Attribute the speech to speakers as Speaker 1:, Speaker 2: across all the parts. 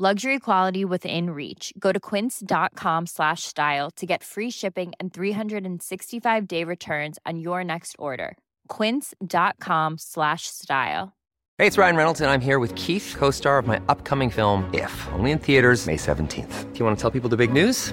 Speaker 1: Luxury quality within reach. Go to quince.com slash style to get free shipping and 365 day returns on your next order. Quince.com slash style.
Speaker 2: Hey, it's Ryan Reynolds, and I'm here with Keith, co star of my upcoming film, If, only in theaters, May 17th. Do you want to tell people the big news?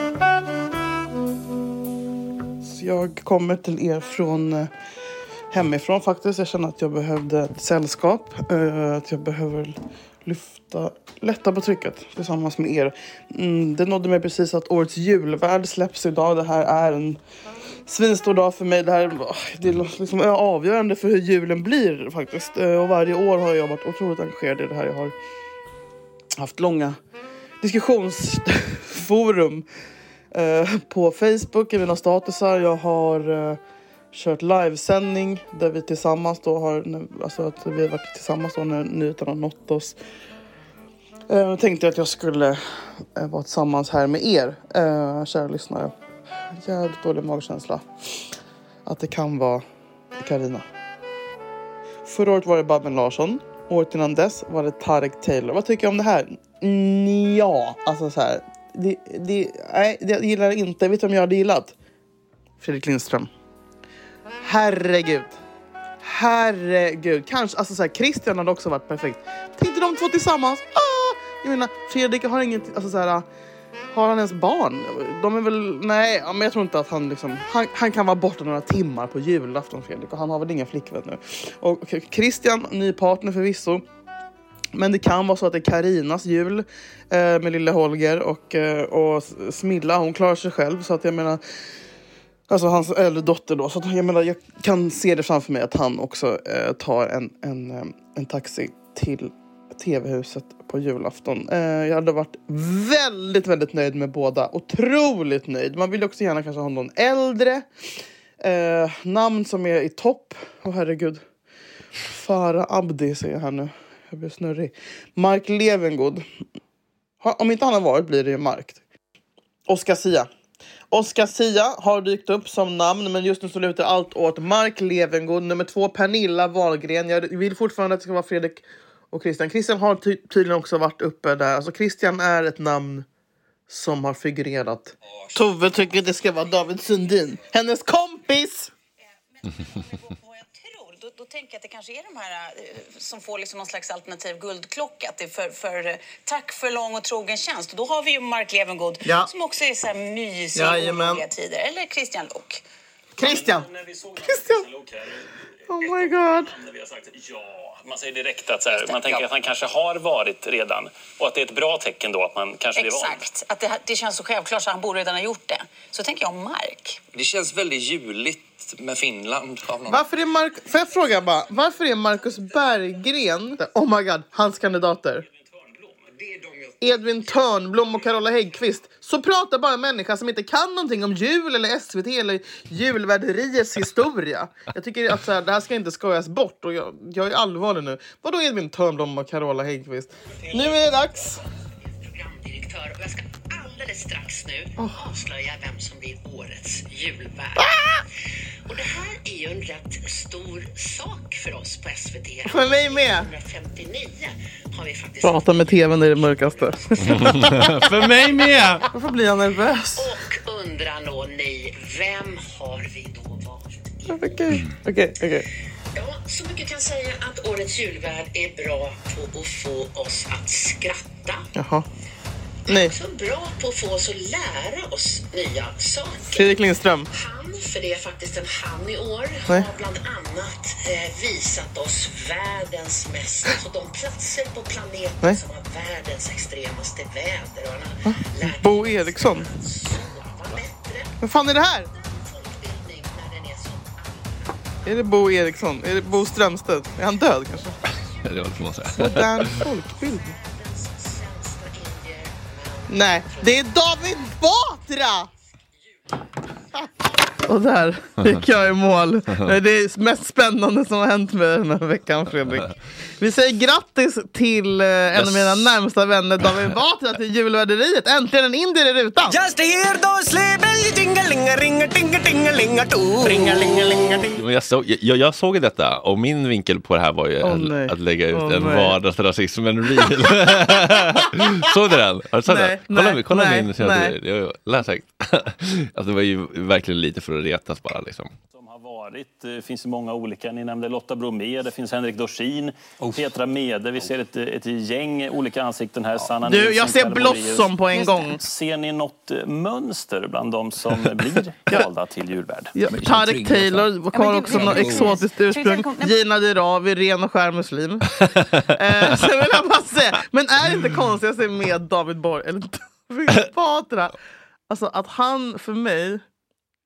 Speaker 3: Så Jag kommer till er från eh, hemifrån faktiskt. Jag kände att jag behövde ett sällskap. eh, Att jag behöver lyfta, lätta på trycket tillsammans med er. Mm, Det nådde mig precis att årets julvärld släpps idag. Det här är en svinstor dag för mig. Det här åh, det är liksom avgörande för hur julen blir faktiskt. Eh, Och varje år har jag varit otroligt engagerad i det här. Jag har haft långa diskussionsforum eh, på Facebook i mina statusar. Jag har eh, kört livesändning där vi tillsammans då har, alltså att vi har varit tillsammans då när nyheten har nått oss. Eh, Jag tänkte att jag skulle eh, vara tillsammans här med er, eh, kära lyssnare. Jävligt dålig magkänsla att det kan vara Karina. Förra året var det Babben Larsson. Året innan dess var det Tarek Taylor. Vad tycker jag om det här? Mm, ja, alltså så här. Det, det, nej, det jag gillar jag inte. Vet du om jag hade gillat? Fredrik Lindström. Herregud. Herregud. Kanske, alltså så här, Christian hade också varit perfekt. Tänkte de två tillsammans. Ah! Jag menar, Fredrik har inget, alltså så här. Har han ens barn? De är väl, nej, ja, men jag tror inte att han liksom, han, han kan vara borta några timmar på julafton Fredrik och han har väl ingen flickvän nu. Och okej, Christian, ny partner förvisso. Men det kan vara så att det är Karinas jul eh, med lille Holger och, eh, och Smilla, hon klarar sig själv så att jag menar Alltså hans äldre dotter då. Så att, jag menar, jag kan se det framför mig att han också eh, tar en, en, eh, en taxi till TV-huset på julafton. Eh, jag hade varit väldigt, väldigt nöjd med båda. Otroligt nöjd. Man vill ju också gärna kanske ha någon äldre. Eh, namn som är i topp. Åh herregud. Farah Abdi säger jag här nu. Jag blir snurrig. Mark Levengood. Ha, om inte han har varit blir det ju Mark. Oscar Sia. Oscar Sia har dykt upp som namn, men just nu så lutar allt åt Mark Levengood. Nummer två, Pernilla Wahlgren. Jag vill fortfarande att det ska vara Fredrik och Christian. Christian har ty- tydligen också varit uppe där. Alltså Christian är ett namn som har figurerat. Tove tycker det ska vara David Sundin. Hennes kompis!
Speaker 4: vad jag tror, då, då tänker jag att det kanske är de här eh, som får liksom någon slags alternativ guldklocka. Att det är för, för, eh, tack för lång och trogen tjänst. Och då har vi ju Mark Levengood
Speaker 3: Ja.
Speaker 4: som också är så här mysig i
Speaker 3: Jajamän.
Speaker 4: oroliga tider. Eller Christian Lok.
Speaker 3: Christian!
Speaker 5: När vi såg
Speaker 3: Christian.
Speaker 5: Christian Lok här, eh,
Speaker 3: Oh my god.
Speaker 5: när vi har sagt ja, man säger direkt att så här, man tänker att han kanske har varit redan och att det är ett bra tecken då att man kanske blir van.
Speaker 4: Exakt. Att det, det känns så självklart så han borde redan ha gjort det. Så tänker jag om Mark.
Speaker 6: Det känns väldigt juligt med Finland. Av någon.
Speaker 3: Varför är Mark... Får jag fråga bara? Varför är Marcus Berggren, oh my god, hans kandidater? Edvin Törnblom och Carola Häggkvist. Så pratar bara en människa som inte kan någonting om jul eller SVT eller julvärderiers historia. Jag tycker att så här, det här ska inte skojas bort och jag, jag är allvarlig nu. Vadå Edvin Törnblom och Carola Häggkvist? Nu är det dags.
Speaker 7: programdirektör och jag ska alldeles strax nu avslöja vem som blir årets julvärd.
Speaker 3: Ah!
Speaker 7: Och det här är ju en rätt stor sak för oss på SVT.
Speaker 3: För mig med.
Speaker 7: 159 har vi faktiskt...
Speaker 3: Prata med tvn är det mörkaste.
Speaker 8: För mig med!
Speaker 3: Varför blir jag nervös?
Speaker 7: Och undrar då ni, vem har vi då valt?
Speaker 3: Okej, okej, okej.
Speaker 7: Ja, så mycket kan jag säga att årets julvärd är bra på att få oss att skratta,
Speaker 3: Jaha. Nej.
Speaker 7: Så bra på att få oss att lära oss nya saker.
Speaker 3: Fredrik Lindström.
Speaker 7: Han, för det är faktiskt en han i år,
Speaker 3: Nej.
Speaker 7: har bland annat eh, visat oss världens mest, alltså de platser på planeten
Speaker 3: Nej.
Speaker 7: som har världens extremaste väder. Och han har lärt
Speaker 3: Bo Eriksson.
Speaker 7: oss att sova bättre.
Speaker 3: Vad fan är det här?
Speaker 7: Folkbildning när den är som
Speaker 3: Är det Bo Eriksson? Är det Bo Strömstedt? Är han död kanske?
Speaker 6: Det var lite måste jag säga.
Speaker 3: Modern folkbildning.
Speaker 7: världens sämsta indier.
Speaker 3: Nej, det är David Batra! Och där gick jag i mål. Det är det mest spännande som har hänt mig den här veckan Fredrik. Vi säger grattis till eh, en av mina närmsta vänner David Batra till julvärderiet. Äntligen en indier i rutan!
Speaker 9: Just hear those sleigh bells jingle-ling-a-ring, tinga-tinga-ling-a-too. Ringa-ling-a-ling-a-ting.
Speaker 6: Men Jag, såg, jag, jag såg detta och min vinkel på det här var ju
Speaker 3: Åh,
Speaker 6: att-
Speaker 3: nej.
Speaker 6: att lägga ut
Speaker 3: Åh,
Speaker 6: en
Speaker 3: nej.
Speaker 6: vardagsrasismen-reel. såg du den? Har du sett
Speaker 3: Nej,
Speaker 6: den? Kolla,
Speaker 3: nej,
Speaker 6: kolla
Speaker 3: nej,
Speaker 6: min senaste
Speaker 3: nej.
Speaker 6: video. Läs högt. alltså, det var ju verkligen lite för att retas bara. Liksom.
Speaker 1: som har varit. Det finns ju många olika. Ni nämnde Lotta Bromé, det finns Henrik Dorsin, Petra Mede. Vi ser ett, ett gäng olika ansikten här. Sanna
Speaker 3: Du,
Speaker 1: Nilsson,
Speaker 3: jag ser
Speaker 1: Kalle Moraeus.
Speaker 3: Blossom på en gång.
Speaker 1: Ser ni något eh, mönster bland de som blir valda till julvärd?
Speaker 3: Ja,
Speaker 6: liksom
Speaker 3: Tarek Taylor har också något exotiskt ursprung. Gina Dirawi, ren och skär muslim. eh, sen vill jag bara säga, men är det inte konstigaste med David Borg, eller David Batra, alltså att han för mig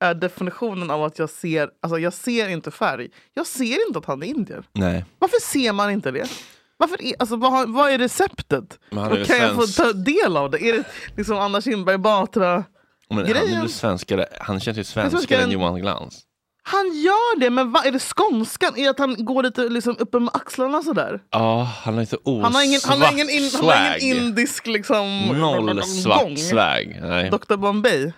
Speaker 3: är definitionen av att jag ser, alltså jag ser inte färg. Jag ser inte att han är indier.
Speaker 6: Nej.
Speaker 3: Varför ser man inte det? Varför är, alltså, vad, har- vad är receptet?
Speaker 6: Men han är
Speaker 3: Och
Speaker 6: ju
Speaker 3: kan jag få
Speaker 6: svensk.
Speaker 3: ta del av det? Är det liksom Anna Kinberg Batra?
Speaker 6: Men han är
Speaker 3: Grejen-
Speaker 6: ju svenskare. Han känns ju
Speaker 3: svenskare
Speaker 6: svenskare än
Speaker 3: än-
Speaker 6: Alltså, Johan Glans.
Speaker 3: Han gör det, men vad är det skånskan? Är det att han går lite liksom uppe med axlarna sådär?
Speaker 6: Ja, han har inte osvart
Speaker 3: Han har ingen, han har ingen, in, han har
Speaker 6: swag.
Speaker 3: ingen indisk liksom...
Speaker 6: Noll
Speaker 3: gång.
Speaker 6: svart swag. Nej.
Speaker 3: Dr Bombay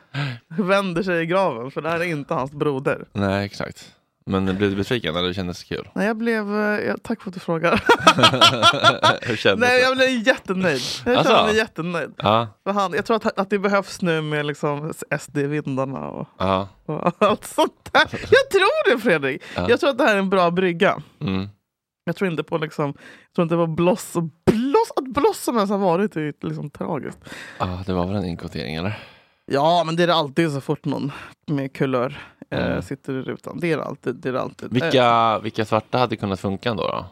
Speaker 3: vänder sig i graven för det här är inte hans broder.
Speaker 6: Nej, exakt. Men blev du besviken eller kändes det kul?
Speaker 3: Nej, jag blev... eh, Jag, tack för att du frågar.
Speaker 6: Hur kändes
Speaker 3: Nej,
Speaker 6: det?
Speaker 3: jag blev jättenöjd. Jag
Speaker 6: Alltså?
Speaker 3: känner mig jättenöjd.
Speaker 6: Ja,
Speaker 3: För han, jag tror att, att det behövs nu med liksom SD-vindarna och,
Speaker 6: ja.
Speaker 3: och allt sånt där. Jag tror det Fredrik! Jag tror att det här är en bra brygga.
Speaker 6: Mm.
Speaker 3: Jag tror inte på liksom, jag tror inte på bloss och bloss, att Blossom ens har varit är ju liksom tragiskt.
Speaker 6: Ja, Ah, det var väl en inkvotering eller?
Speaker 3: Ja, men det är det alltid så fort någon med kulör eh,
Speaker 6: Mm.
Speaker 3: sitter i rutan. Det är det alltid. Det är det alltid. Eh,
Speaker 6: Vilka, vilka svarta hade kunnat funka ändå då?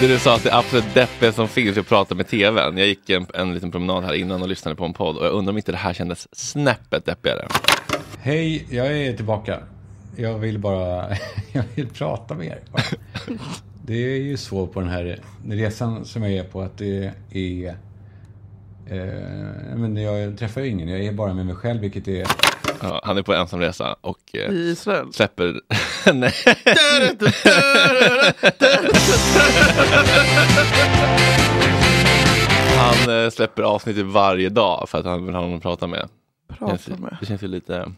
Speaker 6: Det du sa att det absolut deppiga som finns är att prata med tvn. Jag gick en, en liten promenad här innan och lyssnade på en podd och jag undrar om inte det här kändes snäppet deppigare.
Speaker 10: Hej, jag är tillbaka. Jag vill bara jag vill prata med er. Det är ju så på den här resan som jag är på att det är... Eh, men jag träffar ju ingen, jag är bara med mig själv vilket är...
Speaker 6: Ja, han är på ensamresa och eh,
Speaker 3: I Israel.
Speaker 6: släpper... Nej. han eh, släpper avsnitt varje dag för att han vill ha någon att prata med. Det
Speaker 3: Prata
Speaker 6: känns,
Speaker 3: med.
Speaker 6: det känns ju lite...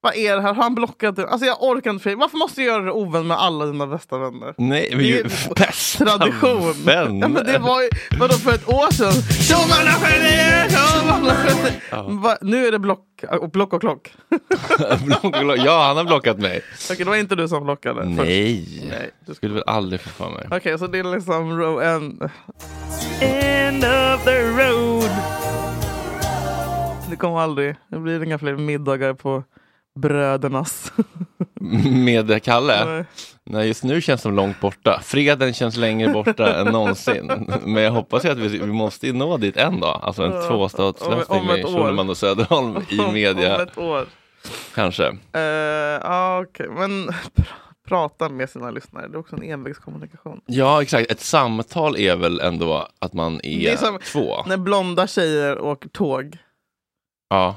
Speaker 3: Vad är det här? Har han blockat det? Alltså jag orkar inte. Fredrik. Varför måste du göra dig ovän med alla dina bästa vänner?
Speaker 6: Nej, men
Speaker 3: Det är
Speaker 6: ju
Speaker 3: ju
Speaker 6: bästa
Speaker 3: Tradition.
Speaker 6: vän.
Speaker 3: Ja, men det var ju, vadå för ett år sedan? Tjovarna genier! tjovarna genier! Va- Nu är det block och, block och klock.
Speaker 6: ja, han har blockat mig.
Speaker 3: Okej, det var inte du som blockade. först.
Speaker 6: Nej,
Speaker 3: Nej,
Speaker 6: du skulle väl aldrig få för mig.
Speaker 3: Okej, så det är liksom row en...
Speaker 8: End of the road.
Speaker 3: Det kommer aldrig. Det blir inga fler middagar på brödernas.
Speaker 6: Med Kalle?
Speaker 3: Nej.
Speaker 6: Nej, just nu känns de långt borta. Freden känns längre borta än någonsin. Men jag hoppas ju att vi, vi måste ju nå dit en dag. Alltså en tvåstatslösning
Speaker 3: om- om ett
Speaker 6: med
Speaker 3: år.
Speaker 6: Schulman och Söderholm i
Speaker 3: Om
Speaker 6: media,
Speaker 3: ett år.
Speaker 6: kanske.
Speaker 3: Eh, ja, okej. Men pr- prata med sina lyssnare. Det är också en envägskommunikation.
Speaker 6: Ja, exakt. Ett samtal är väl ändå att man är,
Speaker 3: Det är som-
Speaker 6: två.
Speaker 3: När blonda tjejer åker tåg
Speaker 6: Ja.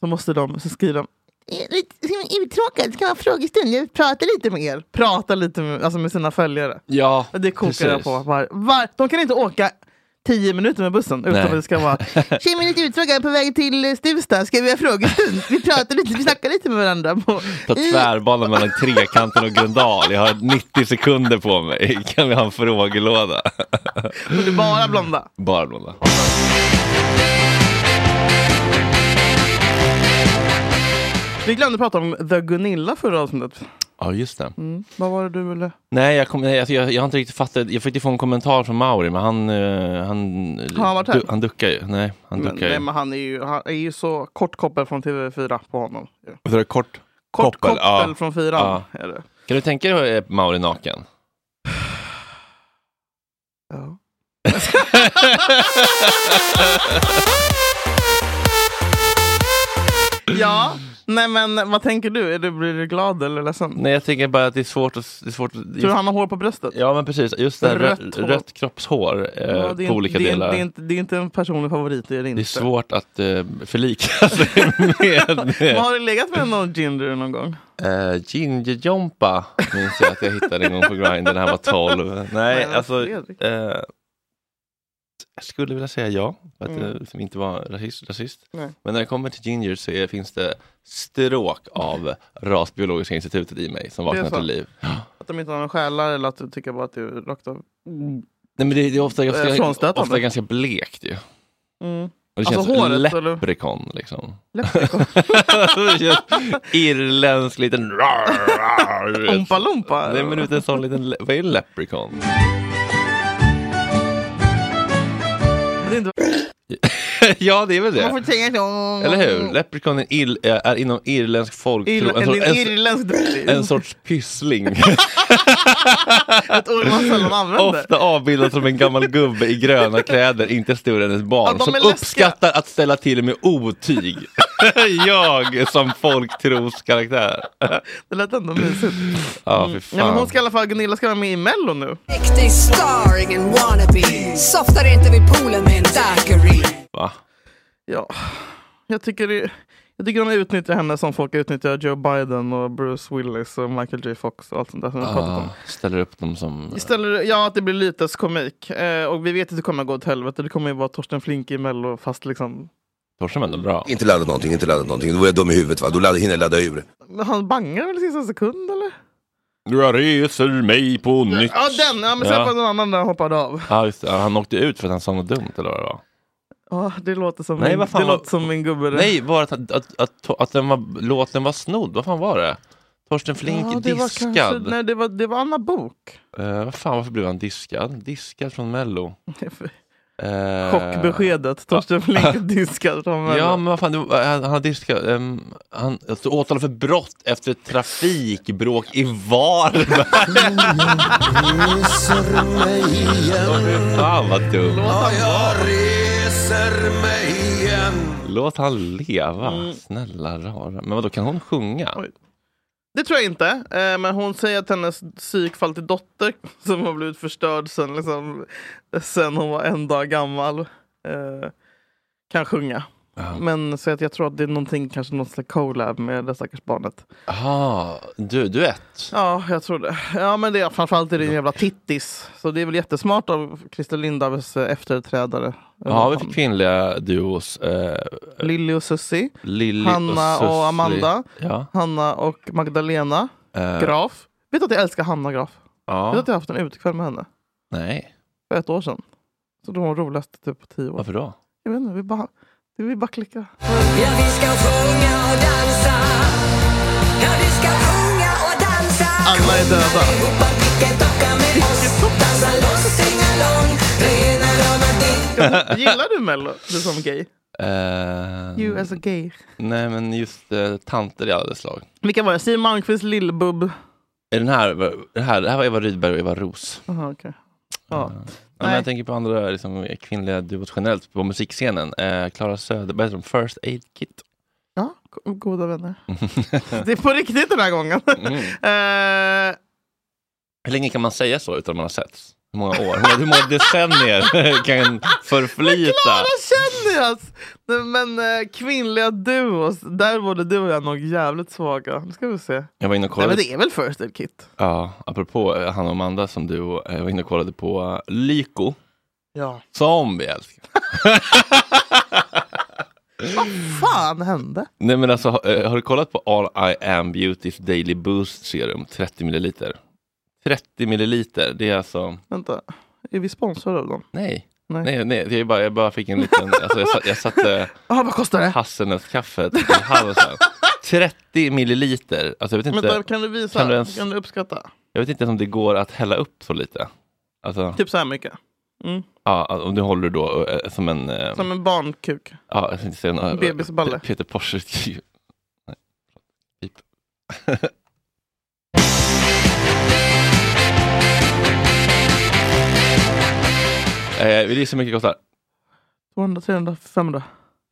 Speaker 3: så måste de, så skriver de "Är vi- är vi tråkiga? Ska vi ha frågestund? Jag vill prata lite med er. Prata lite med, alltså med sina följare.
Speaker 6: ja,
Speaker 3: Det kokar jag
Speaker 6: precis.
Speaker 3: på. Var, var, de kan inte åka tio minuter med bussen utan
Speaker 6: Nej.
Speaker 3: att det ska vara Tjej med lite utfrågad på väg till eh, Stuvsta, ska vi ha frågestund? Vi pratar lite, vi snackar lite med varandra. På,
Speaker 6: Ta tvärbanan mellan Trekanten och Gröndal. Jag har 90 sekunder på mig. Kan vi ha en frågelåda?
Speaker 3: Och det är bara blonda.
Speaker 6: Bara blonda.
Speaker 3: Vi glömde prata om The Gunilla förra avsnittet.
Speaker 6: Ja, just det.
Speaker 3: Mm. Vad var det du ville?
Speaker 6: Nej, jag, kom, nej, alltså, jag, jag har inte riktigt fattat. Jag försökte få en kommentar från Mauri, men han... eh, han,
Speaker 3: Har han varit här?
Speaker 6: han duckar ju. Nej, han
Speaker 3: Men,
Speaker 6: duckar
Speaker 3: nej,
Speaker 6: ju.
Speaker 3: men han, är ju, han är ju så kort koppel från TV4 på honom.
Speaker 6: Vad sa du, Kort,
Speaker 3: Kort
Speaker 6: koppel,
Speaker 3: koppel från fyran är det.
Speaker 6: Kan du tänka dig eh, Mauri naken?
Speaker 3: Ja. ja, nej men vad tänker du? Är du blir du glad eller ledsen?
Speaker 6: Nej, jag tänker bara att det är svårt att... Det är svårt att
Speaker 3: Tror du han har hår på bröstet?
Speaker 6: Ja, men precis. Just det här
Speaker 3: Rött
Speaker 6: rött,
Speaker 3: hår.
Speaker 6: rött kroppshår eh,
Speaker 3: Ja, det är
Speaker 6: på
Speaker 3: en-
Speaker 6: olika
Speaker 3: det är, en-
Speaker 6: delar.
Speaker 3: Det är, inte, det är inte en personlig favorit. Det är, det
Speaker 6: Det är
Speaker 3: inte.
Speaker 6: svårt att eh, förlika sig med...
Speaker 3: Men har du legat med någon ginger någon gång?
Speaker 6: Eh, Gingerjompa minns jag att jag hittade en gång på Grindr när han var 12. Nej,
Speaker 3: Men
Speaker 6: alltså...
Speaker 3: Fredrik.
Speaker 6: eh, jag skulle vilja säga ja, för att
Speaker 3: Mm.
Speaker 6: jag liksom inte var rasist. rasist.
Speaker 3: Nej.
Speaker 6: Men när det kommer till ginger så är, finns det stråk av Rasbiologiska institutet i mig som
Speaker 3: Det är
Speaker 6: vaknar
Speaker 3: så.
Speaker 6: till liv.
Speaker 3: Att de inte har någon själar eller att du tycker bara att du är rakt av... Mm.
Speaker 6: Nej, men det, det är ofta,
Speaker 3: Eh,
Speaker 6: ganska,
Speaker 3: frånstötande.
Speaker 6: ofta ganska blekt ju.
Speaker 3: Mm.
Speaker 6: Och det
Speaker 3: Alltså,
Speaker 6: känns
Speaker 3: håret, eller?
Speaker 6: leprikon liksom.
Speaker 3: Leprikon.
Speaker 6: det känns irländsk liten...
Speaker 3: Ompa Lompa?
Speaker 6: Nej men du vet en sån liten... le- Vad är leprikon?
Speaker 3: Det är inte...
Speaker 6: ja det är väl det.
Speaker 3: Man får tänka så.
Speaker 6: Eller hur? Leprikon är, ill, är inom irländsk folktro.
Speaker 3: Irl- en,
Speaker 6: sorts-
Speaker 3: en irländsk
Speaker 6: en, en sorts pyssling.
Speaker 3: Ett ord man sällan använder.
Speaker 6: Ofta avbildad som en gammal gubbe i gröna kläder, inte större än ett barn.
Speaker 3: Ja, de
Speaker 6: som
Speaker 3: är läskiga.
Speaker 6: uppskattar att ställa till med otyg. Jag som folktroskaraktär.
Speaker 3: Det lät ändå mysigt. Mm.
Speaker 6: Ja,
Speaker 3: Ja,
Speaker 6: fy
Speaker 3: men
Speaker 6: fan.
Speaker 3: hon ska i alla fall, Gunilla ska vara med i Mello nu.
Speaker 11: Riktig star, ingen wannabe. Softar inte vid poolen med en daiquiri.
Speaker 6: Va?
Speaker 3: Ja, jag tycker, det, jag tycker de utnyttjar henne som folk utnyttjar Joe Biden och Bruce Willis och Michael J Fox och allt sånt där som vi pratat om.
Speaker 6: Ah, ställer upp dem som...
Speaker 3: Istället, ja, att det blir lites komik. Eh, och vi vet att det kommer gå åt helvete. Det kommer ju vara Torsten Flinck i Mello fast liksom...
Speaker 6: Torsten var ändå bra.
Speaker 12: Inte laddat någonting, inte laddat någonting. Då är jag dum i huvudet va. Då ladd, hinner jag ladda ur.
Speaker 3: Men han bangar väl i sista sekund eller?
Speaker 6: Jag reser mig på nytt.
Speaker 3: Ja den! Ja men sen
Speaker 6: Ja.
Speaker 3: var det någon annan där han hoppade av.
Speaker 6: Ja, just det. Ja, Han åkte ut för att han sa något dumt eller vad det var.
Speaker 3: Ja, det låter som,
Speaker 6: Nej,
Speaker 3: min,
Speaker 6: vad fan
Speaker 3: det
Speaker 6: var-
Speaker 3: låter som min gubbe. det.
Speaker 6: Nej, bara att, att, att, att, den var, låten var snodd. Vad fan var det? Torsten Flink
Speaker 3: Ja, det var
Speaker 6: diskad.
Speaker 3: kanske- nej det var, det var Anna Bok.
Speaker 6: Eh, vad fan, varför blev han diskad? Diskad från Mello. Eh,
Speaker 3: Chockbeskedet. Torsten Flink diskad från Mello.
Speaker 6: Ja, men vad fan, det var, han, han har diskat. ehm, han alltså, åtalad för brott efter ett trafikbråk i Varberg. Åh, fy fan vad dumt.
Speaker 12: Ja, jag reser mig igen.
Speaker 6: Låt han leva. Snälla rara. Men vadå, kan hon sjunga?
Speaker 3: Det tror jag inte. Eh, men hon säger att hennes psykfall dotter som har blivit förstörd sen, liksom, sen hon var en dag gammal eh, kan sjunga. Men så att jag tror att det är någonting, kanske något slags collab med det stackars barnet.
Speaker 6: Jaha, du, du är
Speaker 3: Ja, jag tror det. Ja, men det är framförallt är det en jävla tittis. Så det är väl jättesmart av Christer Lindarws eh, efterträdare.
Speaker 6: Ja, vi fick kvinnliga duos. Eh,
Speaker 3: Lilly och Susie.
Speaker 6: Lilly
Speaker 3: Hanna
Speaker 6: Sussi.
Speaker 3: och Amanda.
Speaker 6: Ja.
Speaker 3: Hanna och Magdalena
Speaker 6: Eh.
Speaker 3: Graf. Vet du att jag älskar Hanna Graf?
Speaker 6: Ja.
Speaker 3: Vet du att jag har haft en utekväll med henne?
Speaker 6: Nej,
Speaker 3: För ett år sedan. Så då var hon roligast typ på tio år.
Speaker 6: varför då?
Speaker 3: Jag vet inte, vi bara, det vi bara klickar.
Speaker 11: Ja, vi ska sjunga och dansa. Ja, vi ska sjunga och dansa.
Speaker 3: Alla är döda.
Speaker 11: Dansa loss, sing along. Rena rama ditt.
Speaker 3: Gillar du Mello, du som gay?
Speaker 6: Eh,
Speaker 3: You as a gay.
Speaker 6: Nej, men just eh, tanter i alla dess slag.
Speaker 3: Vilka var det? Siw Malmkvist, Lill-Bubb.
Speaker 6: Är Den här, det, här, det här var Eva Rydberg och Eva Ros.
Speaker 3: Jaha, okej. Ja.
Speaker 6: Ja, men jag tänker på andra liksom, kvinnliga duos generellt på musikscenen. Eh, Klara Söderberg som First Aid Kit.
Speaker 3: Ja, go- goda vänner. Det är på riktigt den här gången.
Speaker 6: Mm.
Speaker 3: Eh,
Speaker 6: Hur länge kan man säga så utan man har sett? Hur många år? Hur många- Hur många decennier kan förflyta?
Speaker 3: Klara känner jag! ass. Nej, Men eh, kvinnliga duos, där både du och jag nog jävligt svaga. Nu ska vi se.
Speaker 6: Jag var inne och
Speaker 3: Nej,
Speaker 6: kollade.
Speaker 3: men det är väl First Aid Kit?
Speaker 6: Ja, apropå eh, Hanna och Amanda som du och- jag var inne och kollade på eh, Lyko.
Speaker 3: Ja.
Speaker 6: Som vi älskar.
Speaker 3: Fan hände?
Speaker 6: Nej men alltså, ha- eh, har du kollat på All I Am Beautys Daily Boost Serum? 30 milliliter. 30 milliliter, det är alltså...
Speaker 3: Vänta, är vi sponsrade av dem?
Speaker 6: Nej.
Speaker 3: Nej.
Speaker 6: Nej, nej det är bara, jag bara fick en liten... Alltså jag, satt, jag satte
Speaker 3: Jaha, vad kostar det?
Speaker 6: hasselnötskaffet i halsen. 30 milliliter. Alltså jag vet inte...
Speaker 3: Vänta, kan du visa? Kan
Speaker 6: Kan du
Speaker 3: du,
Speaker 6: ens-
Speaker 3: uppskatta?
Speaker 6: Jag vet inte ens om det går att hälla upp så lite. Alltså,
Speaker 3: Typ så här mycket. Mm.
Speaker 6: ja, alltså, om du håller det då eh, som en... eh,
Speaker 3: Som en barnkuk.
Speaker 6: Ja, jag tänkte säga en... eh,
Speaker 3: Bebisballe.
Speaker 6: Peter Porsche. Nej, typ. eh, det är så mycket det kostar.
Speaker 3: 200, 300, 500.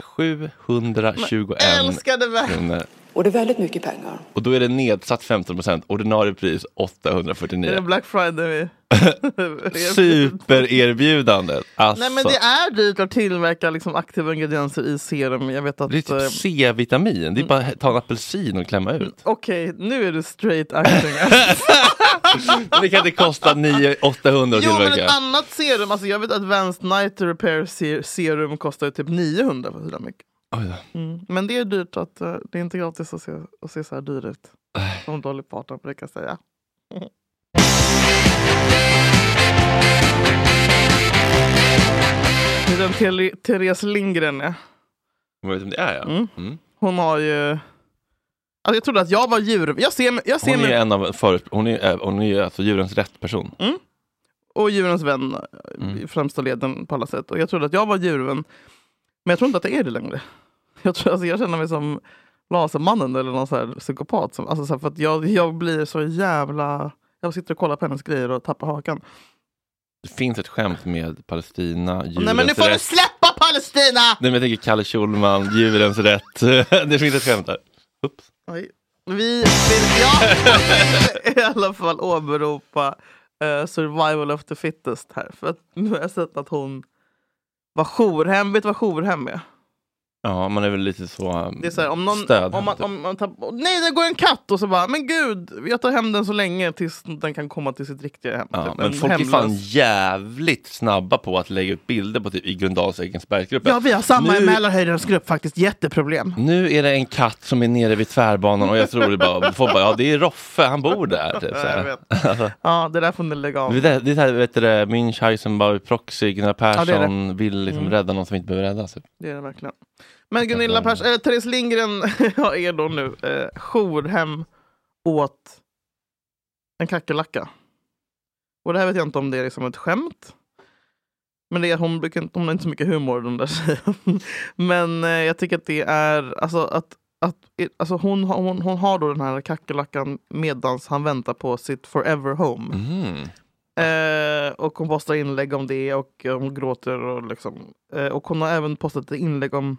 Speaker 6: 721
Speaker 3: Men älskade värld.
Speaker 6: kronor.
Speaker 3: Och det är väldigt mycket pengar.
Speaker 6: Och då är det nedsatt 15 procent, ordinarie pris
Speaker 3: Är det
Speaker 6: 849.
Speaker 3: Black Friday? vi-
Speaker 6: Supererbjudandet! Alltså,
Speaker 3: Nej men det är dyrt att tillverka liksom, aktiva ingredienser i serum. Jag vet att...
Speaker 6: det är
Speaker 3: eh,
Speaker 6: typ C-vitamin, det är bara att ta en apelsin och klämma ut.
Speaker 3: Okej, nu är du straight acting.
Speaker 6: Det kan inte kosta 9 800 att
Speaker 3: jo men ett
Speaker 6: tillverka.
Speaker 3: annat serum, alltså jag vet att Vans Night Repair ser- serum kostar ju typ 900 för hur mycket.
Speaker 6: Oj då.
Speaker 3: Mm. Men det är dyrt att, eh, det är inte gratis att se, att se så här dyr ut.
Speaker 6: Äh.
Speaker 3: Som Dolly Parton brukar säga. Det är den Tele- Therese Lindgren är.
Speaker 6: Jag vet inte om det är ja.
Speaker 3: Mm.
Speaker 6: Mm.
Speaker 3: Hon har ju... Alltså jag trodde att jag var djur. Jag ser mig, jag ser
Speaker 6: Hon är
Speaker 3: mig
Speaker 6: ju en av för, hon är, eh, hon är ju alltså djurens rätt person.
Speaker 3: och djurens vän eh, i främsta leden på alla sätt. Och jag trodde att jag var djurvän. Men jag tror inte att det är det längre. Jag, tror, alltså, jag känner mig som Lasermannen eller någon så här psykopat. Som, alltså, så här, för att jag, jag blir så jävla... Jag sitter och kollar på hennes grejer och tappar hakan.
Speaker 6: Det finns ett skämt med Palestina, djurens
Speaker 3: Nej men nu får du
Speaker 6: rätt.
Speaker 3: släppa Palestina!
Speaker 6: Nej men jag tänker Kalle Schulman, djurens rätt. det finns ett skämt där. Oops.
Speaker 3: Oj. Vi vill, jag vill i alla fall åberopa eh, survival of the fittest här. För att nu har jag sett att hon var jourhem. Vet du vad jourhem är?
Speaker 6: Ja, man är väl lite så, um,
Speaker 3: Det är så här, om någon,
Speaker 6: stöd. typ.
Speaker 3: om man, om man tapp, åh, nej, det går en katt! Och så bara, men gud, jag tar hem den så länge tills den kan komma till sitt riktiga hem.
Speaker 6: ja,
Speaker 3: Typ
Speaker 6: men
Speaker 3: en
Speaker 6: folk är
Speaker 3: hemlös.
Speaker 6: fan jävligt snabba på att lägga upp bilder på typ i Gröndals Ekensbergsgruppen.
Speaker 3: Ja, vi har samma i
Speaker 6: nu, Mm.
Speaker 3: Mälarhöjdens grupp faktiskt. Jätteproblem.
Speaker 6: nu är det en katt som är nere vid tvärbanan och jag tror det bara, folk bara, ja det är Roffe, han bor där. Typ,
Speaker 3: Jag
Speaker 6: så här.
Speaker 3: vet. Ja, det där får ni lägga av.
Speaker 6: Det där, det där vet du, det, Münch, Heisenberg, Proxy, Gunnar
Speaker 3: Ja, det är det.
Speaker 6: Persson vill liksom
Speaker 3: Mm.
Speaker 6: rädda någon som inte behöver räddas. typ.
Speaker 3: Det är det verkligen. Men Gunilla Persson, eh, Therese Lindgren ja, är då nu eh, jourhem åt en kackerlacka. Och det här vet jag inte om det är liksom ett skämt. Men det är, hon, brukar, inte- hon har inte så mycket humor den där tjejen. Men eh, jag tycker att det är, alltså att, att i- alltså hon, har- hon, hon har då den här kackerlackan medans han väntar på sitt forever home. Eh, och hon postar inlägg om det och eh, hon gråter. Och, liksom. eh, och hon har även postat ett inlägg om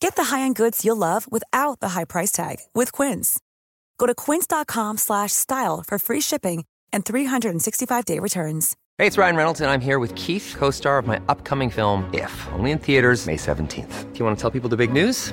Speaker 13: Get the high-end goods you'll love without the high price tag with Quince. Go to quince.com/style slash style for free shipping and 365-day returns.
Speaker 2: Hey, it's Ryan Reynolds, and I'm here with Keith, co star of my upcoming film, If, only in theaters, May 17th. Do you want to tell people the big news?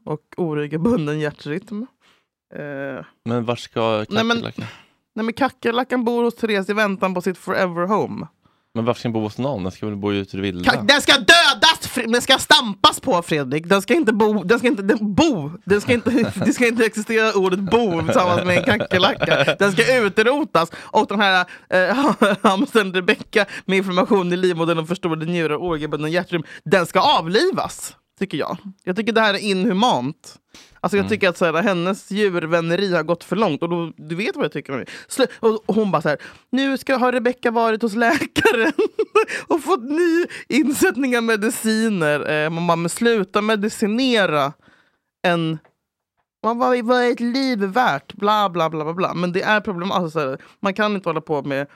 Speaker 3: och oregelbunden hjärtrytm. Eh,
Speaker 6: Men vart ska
Speaker 3: Nej, men-
Speaker 6: kackerlackan?
Speaker 3: nej men kackerlackan bor hos Therese i väntan på sitt forever home.
Speaker 6: Men varför ska den bo hos någon? Den ska väl bo ute i det vilda?
Speaker 3: Ka- Den ska dödas! Fre- Den ska stampas på Fredrik! Den ska inte bo, den ska inte, den, bo! Den ska inte, det ska inte existera ordet bo tillsammans med en kackerlacka. Den ska utrotas! Och den här eh, hamstern Rebecka med inflammation i livmodern och förstorade njurar och orgelbunden hjärtrum, den ska avlivas! Tycker jag. Jag tycker det här är inhumant. Alltså jag
Speaker 6: Mm.
Speaker 3: tycker att så här, hennes djurvänneri har gått för långt. Och då, du vet vad jag tycker om det. Slu- och hon bara så här, nu ska, har Rebecka varit hos läkaren och fått ny insättning av mediciner. Eh, man bara, men sluta medicinera en... Man bara, vad är ett liv värt? Bla, bla, bla, bla, bla. Men det är problem. Alltså, så här, man kan inte hålla på med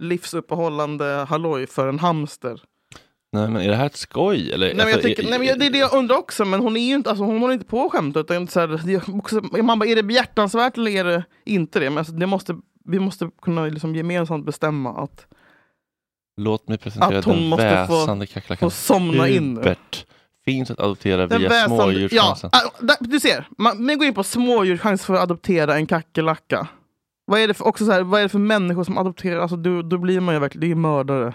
Speaker 3: livsuppehållande halloj för en hamster.
Speaker 6: Nej, men är det här ett skoj? Eller?
Speaker 3: Nej, men jag
Speaker 6: Alltså,
Speaker 3: tycker,
Speaker 6: i-
Speaker 3: nej, men jag- det är det jag undrar också, men hon är ju inte, alltså, hon håller inte på och skämtar. Utan så här, det är också, man bara, är det behjärtansvärt eller är det inte det? Men alltså, det måste, vi måste kunna liksom gemensamt bestämma att
Speaker 6: Låt mig presentera
Speaker 3: Att hon
Speaker 6: den
Speaker 3: måste få-
Speaker 6: väsande kackerlackan.
Speaker 3: få somna in nu.
Speaker 6: Hubert. Finns att adoptera
Speaker 3: Den
Speaker 6: via
Speaker 3: väsande-
Speaker 6: smådjurschansen.
Speaker 3: Ja, ah, där, du ser, man, man går in på smådjurschans för att adoptera en kackerlacka. Vad är det för, också så här, vad är det för människor som adopterar? Alltså, du, då blir man ju verkligen det är ju mördare.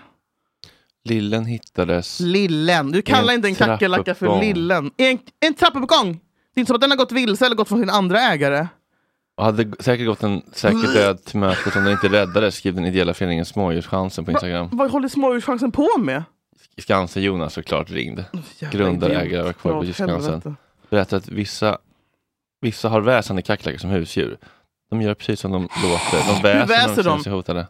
Speaker 6: Lillen hittades.
Speaker 3: Lillen. Du kallar
Speaker 6: En
Speaker 3: inte en kackerlacka för
Speaker 6: trappuppgång.
Speaker 3: lillen. En, en trappuppgång! Det är inte som att den har gått vilse eller gått från sin andra ägare.
Speaker 6: Och hade g- säkert gått en säker död till mötet om den inte räddades, skrev den ideella föreningen Smådjurschansen på Instagram.
Speaker 3: Vad håller smådjurschansen på med?
Speaker 6: Skansen-Jonas såklart ringde.
Speaker 3: jävla
Speaker 6: Grundare,
Speaker 3: idiot.
Speaker 6: ägare och
Speaker 3: Ja,
Speaker 6: kvar på Skansen.
Speaker 3: helvete.
Speaker 6: Berättade att vissa, vissa har väsande kackerlackor som husdjur. De gör precis som de låter. De väser,
Speaker 3: väser
Speaker 6: när de,
Speaker 3: de?
Speaker 6: känner sig hotade.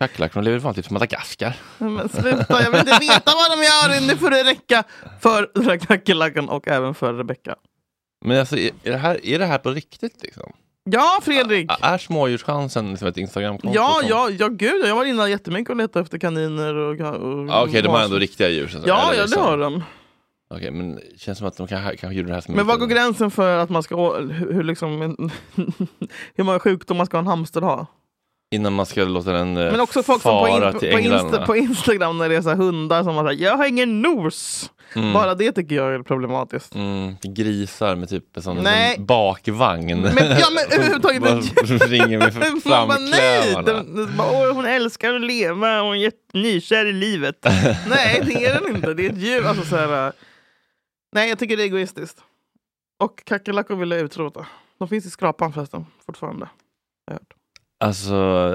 Speaker 6: Kackerlackor de lever vanligtvis på Madagaskar.
Speaker 3: Nej, Men sluta, jag vill inte veta vad de gör! Nu får det räcka för den här kackerlackan och även för Rebecka.
Speaker 6: Men alltså, är är det här, är det här på riktigt? Liksom?
Speaker 3: Ja, Fredrik!
Speaker 6: Är smådjurschansen liksom ett Instagramkonto?
Speaker 3: Ja,
Speaker 6: som-
Speaker 3: ja, ja, gud, jag var inne jättemycket och letade efter kaniner och... ga- och
Speaker 6: Ah, Okej, de har
Speaker 3: mas-
Speaker 6: ändå riktiga djur. så-
Speaker 3: Ja,
Speaker 6: eller
Speaker 3: ja, det
Speaker 6: liksom-
Speaker 3: har de.
Speaker 6: Okej, men det känns som att de kanske, kanske gjorde det här som en
Speaker 3: Men vad går
Speaker 6: liten-
Speaker 3: gränsen för att man ska... å- Hur, hur liksom, en- hur många sjukdomar ska en hamster ha?
Speaker 6: Innan man ska låta den eh,
Speaker 3: Men också folk som på,
Speaker 6: fara
Speaker 3: in, på,
Speaker 6: till
Speaker 3: på,
Speaker 6: England.
Speaker 3: Insta, på Instagram när det är så här hundar som har så här, jag har ingen nos.
Speaker 6: Mm.
Speaker 3: Bara det tycker jag är problematiskt.
Speaker 6: mm, grisar med typ en sån
Speaker 3: Nej.
Speaker 6: en bakvagn.
Speaker 3: Men, ja, men överhuvudtaget
Speaker 6: Bara
Speaker 3: inte-
Speaker 6: som ringer med
Speaker 3: Man bara, nej!
Speaker 6: framklövarna.
Speaker 3: Den, den bara, Åh, hon älskar att leva, hon är jätte- nykär i livet. nej, det är den inte. Det är ett djur. Alltså, så här, äh, nej, jag tycker det är egoistiskt. Och kackerlackor vill jag utrota. De finns i skrapan förresten, fortfarande.
Speaker 6: Alltså,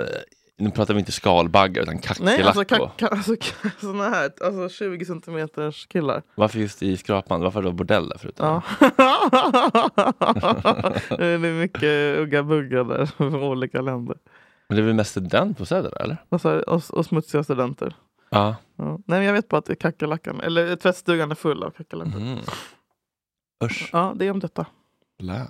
Speaker 6: nu pratar vi inte skalbaggar utan
Speaker 3: Nej,
Speaker 6: kackerlackor.
Speaker 3: alltså, kack, kack- alltså, kack- såna här alltså 20 centimeters killar.
Speaker 6: Varför just i skrapan? Varför då bordell där förutom?
Speaker 3: Ja. det är mycket ugga-bugga där från olika länder.
Speaker 6: Men det är väl mest studentbostäder eller?
Speaker 3: Och, så här, och, och smutsiga studenter.
Speaker 6: Ja.
Speaker 3: Ja. Nej, men jag vet bara att det är kackerlackan, eller tvättstugan är full av kackerlackor.
Speaker 6: Usch.
Speaker 3: Ja, det är om detta.
Speaker 6: Blä.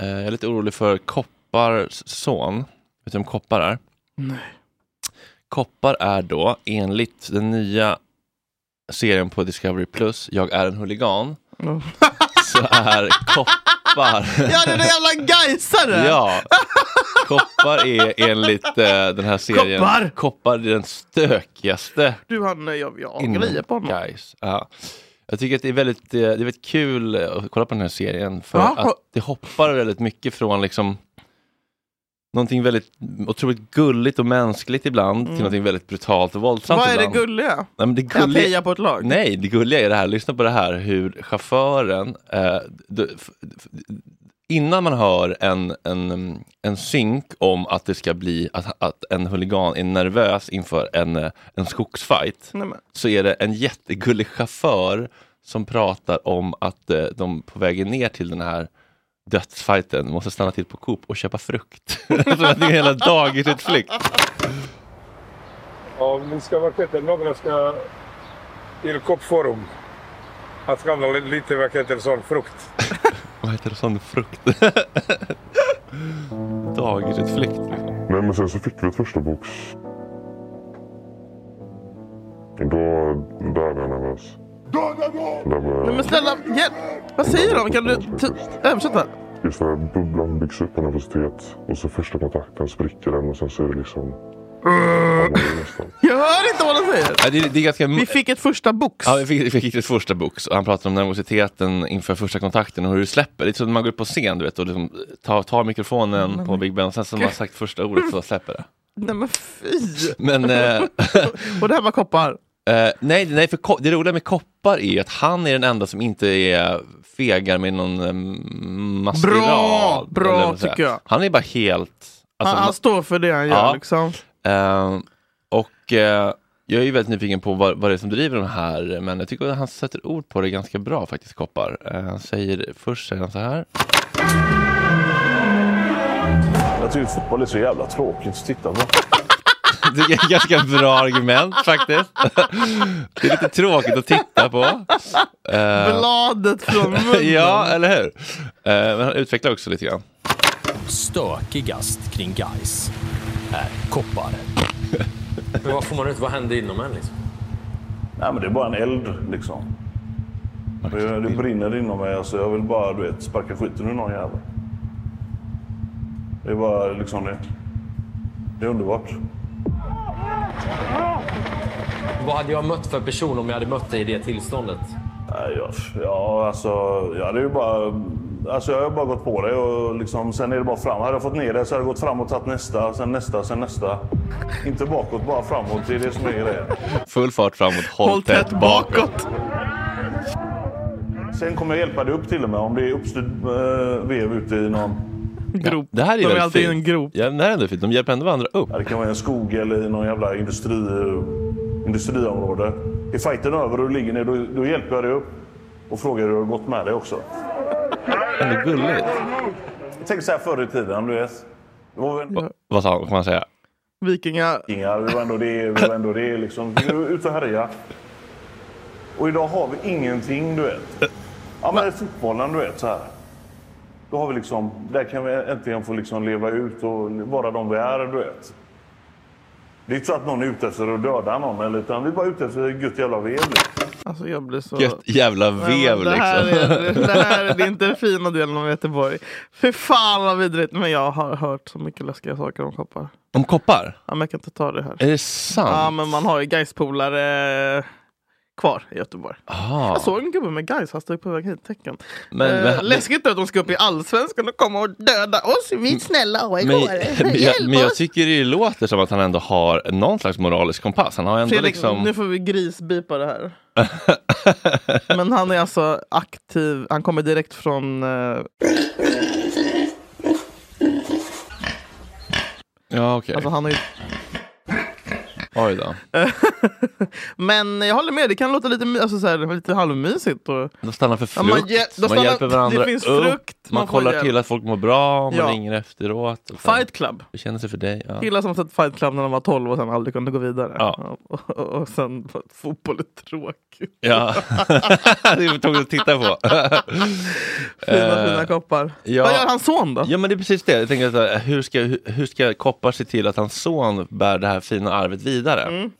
Speaker 6: Eh, Jag är lite orolig för Koppars son. Vet du vem Koppar är?
Speaker 3: Nej.
Speaker 6: Koppar är då, enligt den nya serien på Discovery Plus, Jag är en huligan,
Speaker 3: Ja.
Speaker 6: så är Koppar...
Speaker 3: Ja, det är den jävla Gaisare!
Speaker 6: Ja. Koppar är enligt eh, den här serien...
Speaker 3: Koppar!
Speaker 6: Koppar är den stökigaste
Speaker 3: Du, han, jag, jag
Speaker 6: inom
Speaker 3: grejer på honom.
Speaker 6: Guys. Ja. Jag tycker att det är, väldigt, eh, det är väldigt kul eh, att kolla på den här serien för
Speaker 3: Ja.
Speaker 6: att det hoppar väldigt mycket från liksom någonting väldigt otroligt gulligt och mänskligt ibland
Speaker 3: Mm.
Speaker 6: till någonting väldigt brutalt och våldsamt
Speaker 3: Vad är det
Speaker 6: ibland.
Speaker 3: gulliga?
Speaker 6: Nej, men det
Speaker 3: Att
Speaker 6: gulliga...
Speaker 3: heja på ett lag?
Speaker 6: Nej, det gulliga är det här, lyssna på det här hur chauffören, eh, d- f- f- innan man hör en, en, mm, en synk om att det ska bli, att, att en huligan är nervös inför en, eh, en skogsfight,
Speaker 3: Nej, men.
Speaker 6: så är det en jättegullig chaufför som pratar om att eh, de på vägen ner till den här dödsfighten måste stanna till på Coop och köpa frukt. Som att det är hela dagisutflykt.
Speaker 14: Om ni ska vara kvitter, några ska till Koppforum. Att handla li- lite, vad heter det, sån frukt.
Speaker 6: Vad heter det? Sån frukt. Dagisutflykt.
Speaker 15: Nej, men sen så fick vi ett första box. Då dödade han henne. alltså. Där var-
Speaker 3: Nej men snälla, hjälp! Vad säger de? Kan du t- översätta?
Speaker 16: Just den här bubblan byggs upp på nervositet och så första kontakten spricker den och sen så är det liksom...
Speaker 3: Jag hör inte vad han säger.
Speaker 6: Ja, det, det är ganska...
Speaker 3: Vi fick ett första box.
Speaker 6: Ja, vi fick, vi fick ett första box och han pratade om nervositeten inför första kontakten och hur du släpper. Det är som när man går upp på scen du vet, och liksom tar, tar mikrofonen
Speaker 3: Nej,
Speaker 6: på
Speaker 3: men
Speaker 6: Big Ben och sen som man har sagt första ordet så släpper det.
Speaker 3: Nej men fy!
Speaker 6: Men, eh,
Speaker 3: Och det här var koppar.
Speaker 6: eh, nej, nej, för ko- det roliga med koppar är att han är den enda som inte är fegar med någon eh, maskerad.
Speaker 3: Bra, bra,
Speaker 6: eller vad man säger.
Speaker 3: tycker jag.
Speaker 6: Han är bara helt... alltså,
Speaker 3: han, han
Speaker 6: man-
Speaker 3: står för det han gör
Speaker 6: Ja.
Speaker 3: liksom.
Speaker 6: Ehm, och eh, jag är ju väldigt nyfiken på vad, vad det är som driver de här, men jag tycker att han sätter ord på det ganska bra faktiskt, Koppar. Eh, han säger, först säger han så här.
Speaker 5: Jag tycker fotboll är så jävla tråkigt att titta på.
Speaker 6: Det är ett ganska bra argument faktiskt. Det är lite tråkigt att titta på. Eh,
Speaker 3: Bladet från munnen.
Speaker 6: ja, eller hur? Eh, men han utvecklar också lite grann.
Speaker 2: Stökigast kring guys är koppar.
Speaker 17: Men vad får man ut? Vad händer inom en liksom?
Speaker 5: Nej, men det är bara en eld liksom. Det, det brinner inom mig. Alltså, jag vill bara du vet, sparka skiten ur någon jävel. Det är bara liksom det. Det är underbart.
Speaker 17: Vad hade jag mött för person om jag hade mött dig i det tillståndet?
Speaker 5: Nej, jag, ja, alltså, jag hade ju bara... Alltså jag har bara gått på det och liksom, sen är det bara fram. Hade jag fått ner det så hade jag gått fram och tagit nästa, sen nästa, sen nästa. Inte bakåt, bara framåt. Det är det som är grejen.
Speaker 6: Full fart framåt, håll, tätt bakåt.
Speaker 5: Sen kommer jag hjälpa dig upp till och med om det är uppstyrd eh, vev ute i någon...
Speaker 6: Grop. Det här är
Speaker 5: De är
Speaker 6: väldigt
Speaker 5: alltid i
Speaker 6: fint.
Speaker 5: en
Speaker 6: grop. Ja, det här är ändå fint. De hjälper ändå varandra upp.
Speaker 5: Det kan vara i en skog eller i någon jävla industri, eh, industriområde. Är fighten över och du ligger ner, då, då hjälper jag dig upp. Och frågar hur det har gått med dig också.
Speaker 6: Ändå gulligt.
Speaker 5: Tänk så här förr i tiden, du vet. Det var väl...
Speaker 6: Vad sa han, kan man säga?
Speaker 3: Vikingar.
Speaker 5: Vikingar, vi var ändå det, vi var ändå det liksom. Vi var ute och härja. Och idag har vi ingenting, du vet. Ja men i fotbollen, du vet så här. Då har vi liksom, där kan vi äntligen få liksom leva ut och vara de vi är, du vet. Det är inte så att någon är ute efter att döda någon, eller, utan vi är bara ute efter ett gött jävla vev. liksom.
Speaker 3: Alltså jag blir så...
Speaker 6: Gött jävla
Speaker 3: Nej,
Speaker 6: vev
Speaker 3: men det här
Speaker 6: liksom.
Speaker 3: Är, det här är det är inte den fina delen av Göteborg. Fy fan vad vidrigt. Men jag har hört så mycket läskiga saker om koppar.
Speaker 6: Om koppar?
Speaker 3: Ja, men jag kan inte ta det här.
Speaker 6: Är det sant?
Speaker 3: Ja, men man har ju Gais-polare kvar i Göteborg.
Speaker 6: Ah.
Speaker 3: Jag såg en gubbe med Gais, han stod på väg hit. Tecken.
Speaker 6: Men-
Speaker 3: eh,
Speaker 6: men-
Speaker 3: läskigt att de ska upp i Allsvenskan och komma och döda oss, vi snälla
Speaker 6: Mm. Men,
Speaker 3: AIK-are.
Speaker 6: men, jag, men
Speaker 3: Hjälp
Speaker 6: jag
Speaker 3: oss!
Speaker 6: tycker det låter som att han ändå har någon slags moralisk kompass. Han har ändå
Speaker 3: Fredrik,
Speaker 6: liksom...
Speaker 3: nu får vi grisbipa det här. men han är alltså aktiv, han kommer direkt från... Eh,
Speaker 6: Ja, okej.
Speaker 3: alltså han Eh, är ju
Speaker 6: Oj då.
Speaker 3: Men jag håller med, det kan låta lite, my- alltså, så här, lite halvmysigt. Och...
Speaker 6: De stannar för
Speaker 3: Ja,
Speaker 6: frukt,
Speaker 3: man ge- de
Speaker 6: man
Speaker 3: stannar-
Speaker 6: hjälper varandra
Speaker 3: det finns
Speaker 6: upp,
Speaker 3: frukt,
Speaker 6: man,
Speaker 3: man får
Speaker 6: kollar
Speaker 3: hjälp.
Speaker 6: till att folk mår bra, man
Speaker 3: Ja.
Speaker 6: ringer efteråt. och sen-
Speaker 3: Fight Club.
Speaker 6: Hur känns det för dig? Ja.
Speaker 3: Killar som sett Fight Club när de var 12 och sen aldrig kunde gå vidare.
Speaker 6: Ja.
Speaker 3: Och, och, och sen bara, fotboll är tråkigt.
Speaker 6: Ja. det tog att titta på.
Speaker 3: Fina,
Speaker 6: Eh,
Speaker 3: fina koppar. Vad gör hans son då?
Speaker 6: Ja men det är precis det. Jag tänker att, eh, hur, ska, hur, hur ska koppar se till att hans son bär det här fina arvet vidare?
Speaker 3: Mm.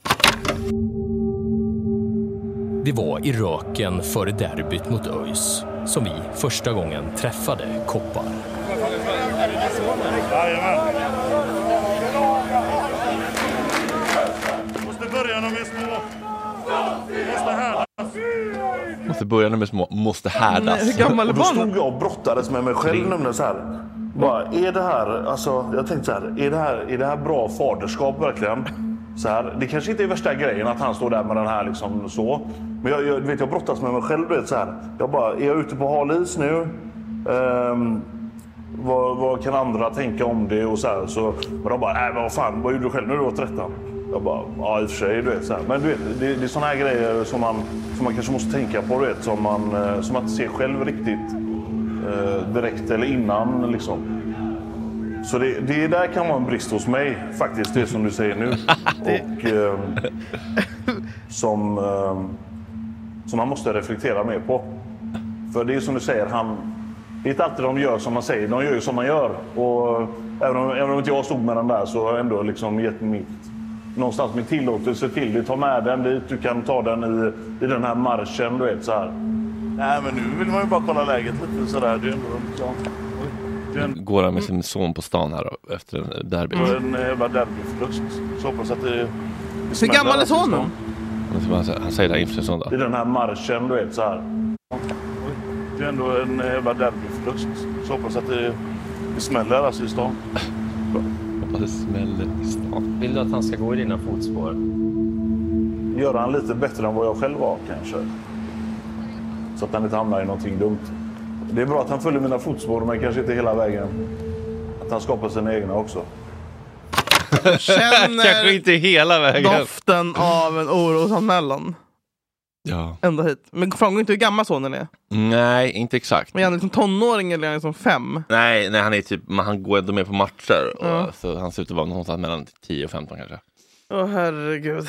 Speaker 2: Det var i röken före derbyt mot ÖIS som vi första gången träffade koppar.
Speaker 18: Måste börja när vi är små. Måste
Speaker 6: Måste börja med små, måste härdas.
Speaker 5: Och då stod jag och brottades med mig själv nämligen så här. Bara, är det här, alltså, jag tänkte så här, är det här, är det här bra faderskap verkligen? Så här, det kanske inte är värsta grejen att han står där med den här liksom så. Men jag, jag, du vet, jag brottas med mig själv. Du vet, så här. Jag bara, är jag ute på hal is nu? Ehm, vad, vad kan andra tänka om det? Och så här, så, men de bara, äh, men vad fan, vad gjorde du själv när du var 13? Jag bara, ja i och för sig, du vet. Så här. Men du vet, det, det är såna här grejer som man, som man kanske måste tänka på, du vet. Som man, eh, som man inte ser själv riktigt eh, direkt eller innan liksom. Så det, det där kan vara en brist hos mig faktiskt, det som du säger nu. Och eh, som, eh, som man måste reflektera mer på. För det är som du säger, han, det är inte alltid de gör som man säger, de gör ju som man gör. Och även om, även om inte jag stod med den där så har jag ändå liksom gett mitt, någonstans min tillåtelse till det. Ta med den dit, du kan ta den i, i den här marschen, du vet så här. Nej men nu vill man ju bara kolla läget lite sådär. Det är ändå, ja. verkligen.
Speaker 6: går han med sin son på stan här då, efter derbyt.
Speaker 3: Mm.
Speaker 5: Och en eh, jävla derbyförlust. Så hoppas att det...
Speaker 3: Hur gammal är sonen?
Speaker 6: Han säger- Han säger det här inför sin son då.
Speaker 5: Det är den här marschen, du vet så här. Det är ändå en eh, jävla derbyförlust. Så hoppas att det, det smäller alltså i stan.
Speaker 6: Hoppas det smäller i stan.
Speaker 19: Vill du att han ska gå i dina fotspår?
Speaker 5: Göra han lite bättre än vad jag själv var kanske. Så att han inte hamnar i någonting dumt. Det är bra att han följer mina fotspår men kanske inte hela vägen. Att han skapar sina egna också.
Speaker 3: Känner
Speaker 6: Kanske inte hela vägen.
Speaker 3: Doften av en orosanmälan.
Speaker 6: Ja.
Speaker 3: Ända hit. Men framgår inte hur gammal sonen är.
Speaker 6: Nej, inte exakt.
Speaker 3: Men är han liksom tonåring eller är han liksom fem?
Speaker 6: Nej, nej han, är typ, men han går ändå med på matcher. Och,
Speaker 3: Ja.
Speaker 6: så han ser ut att vara någonstans mellan 10 och 15 kanske.
Speaker 3: Åh herregud.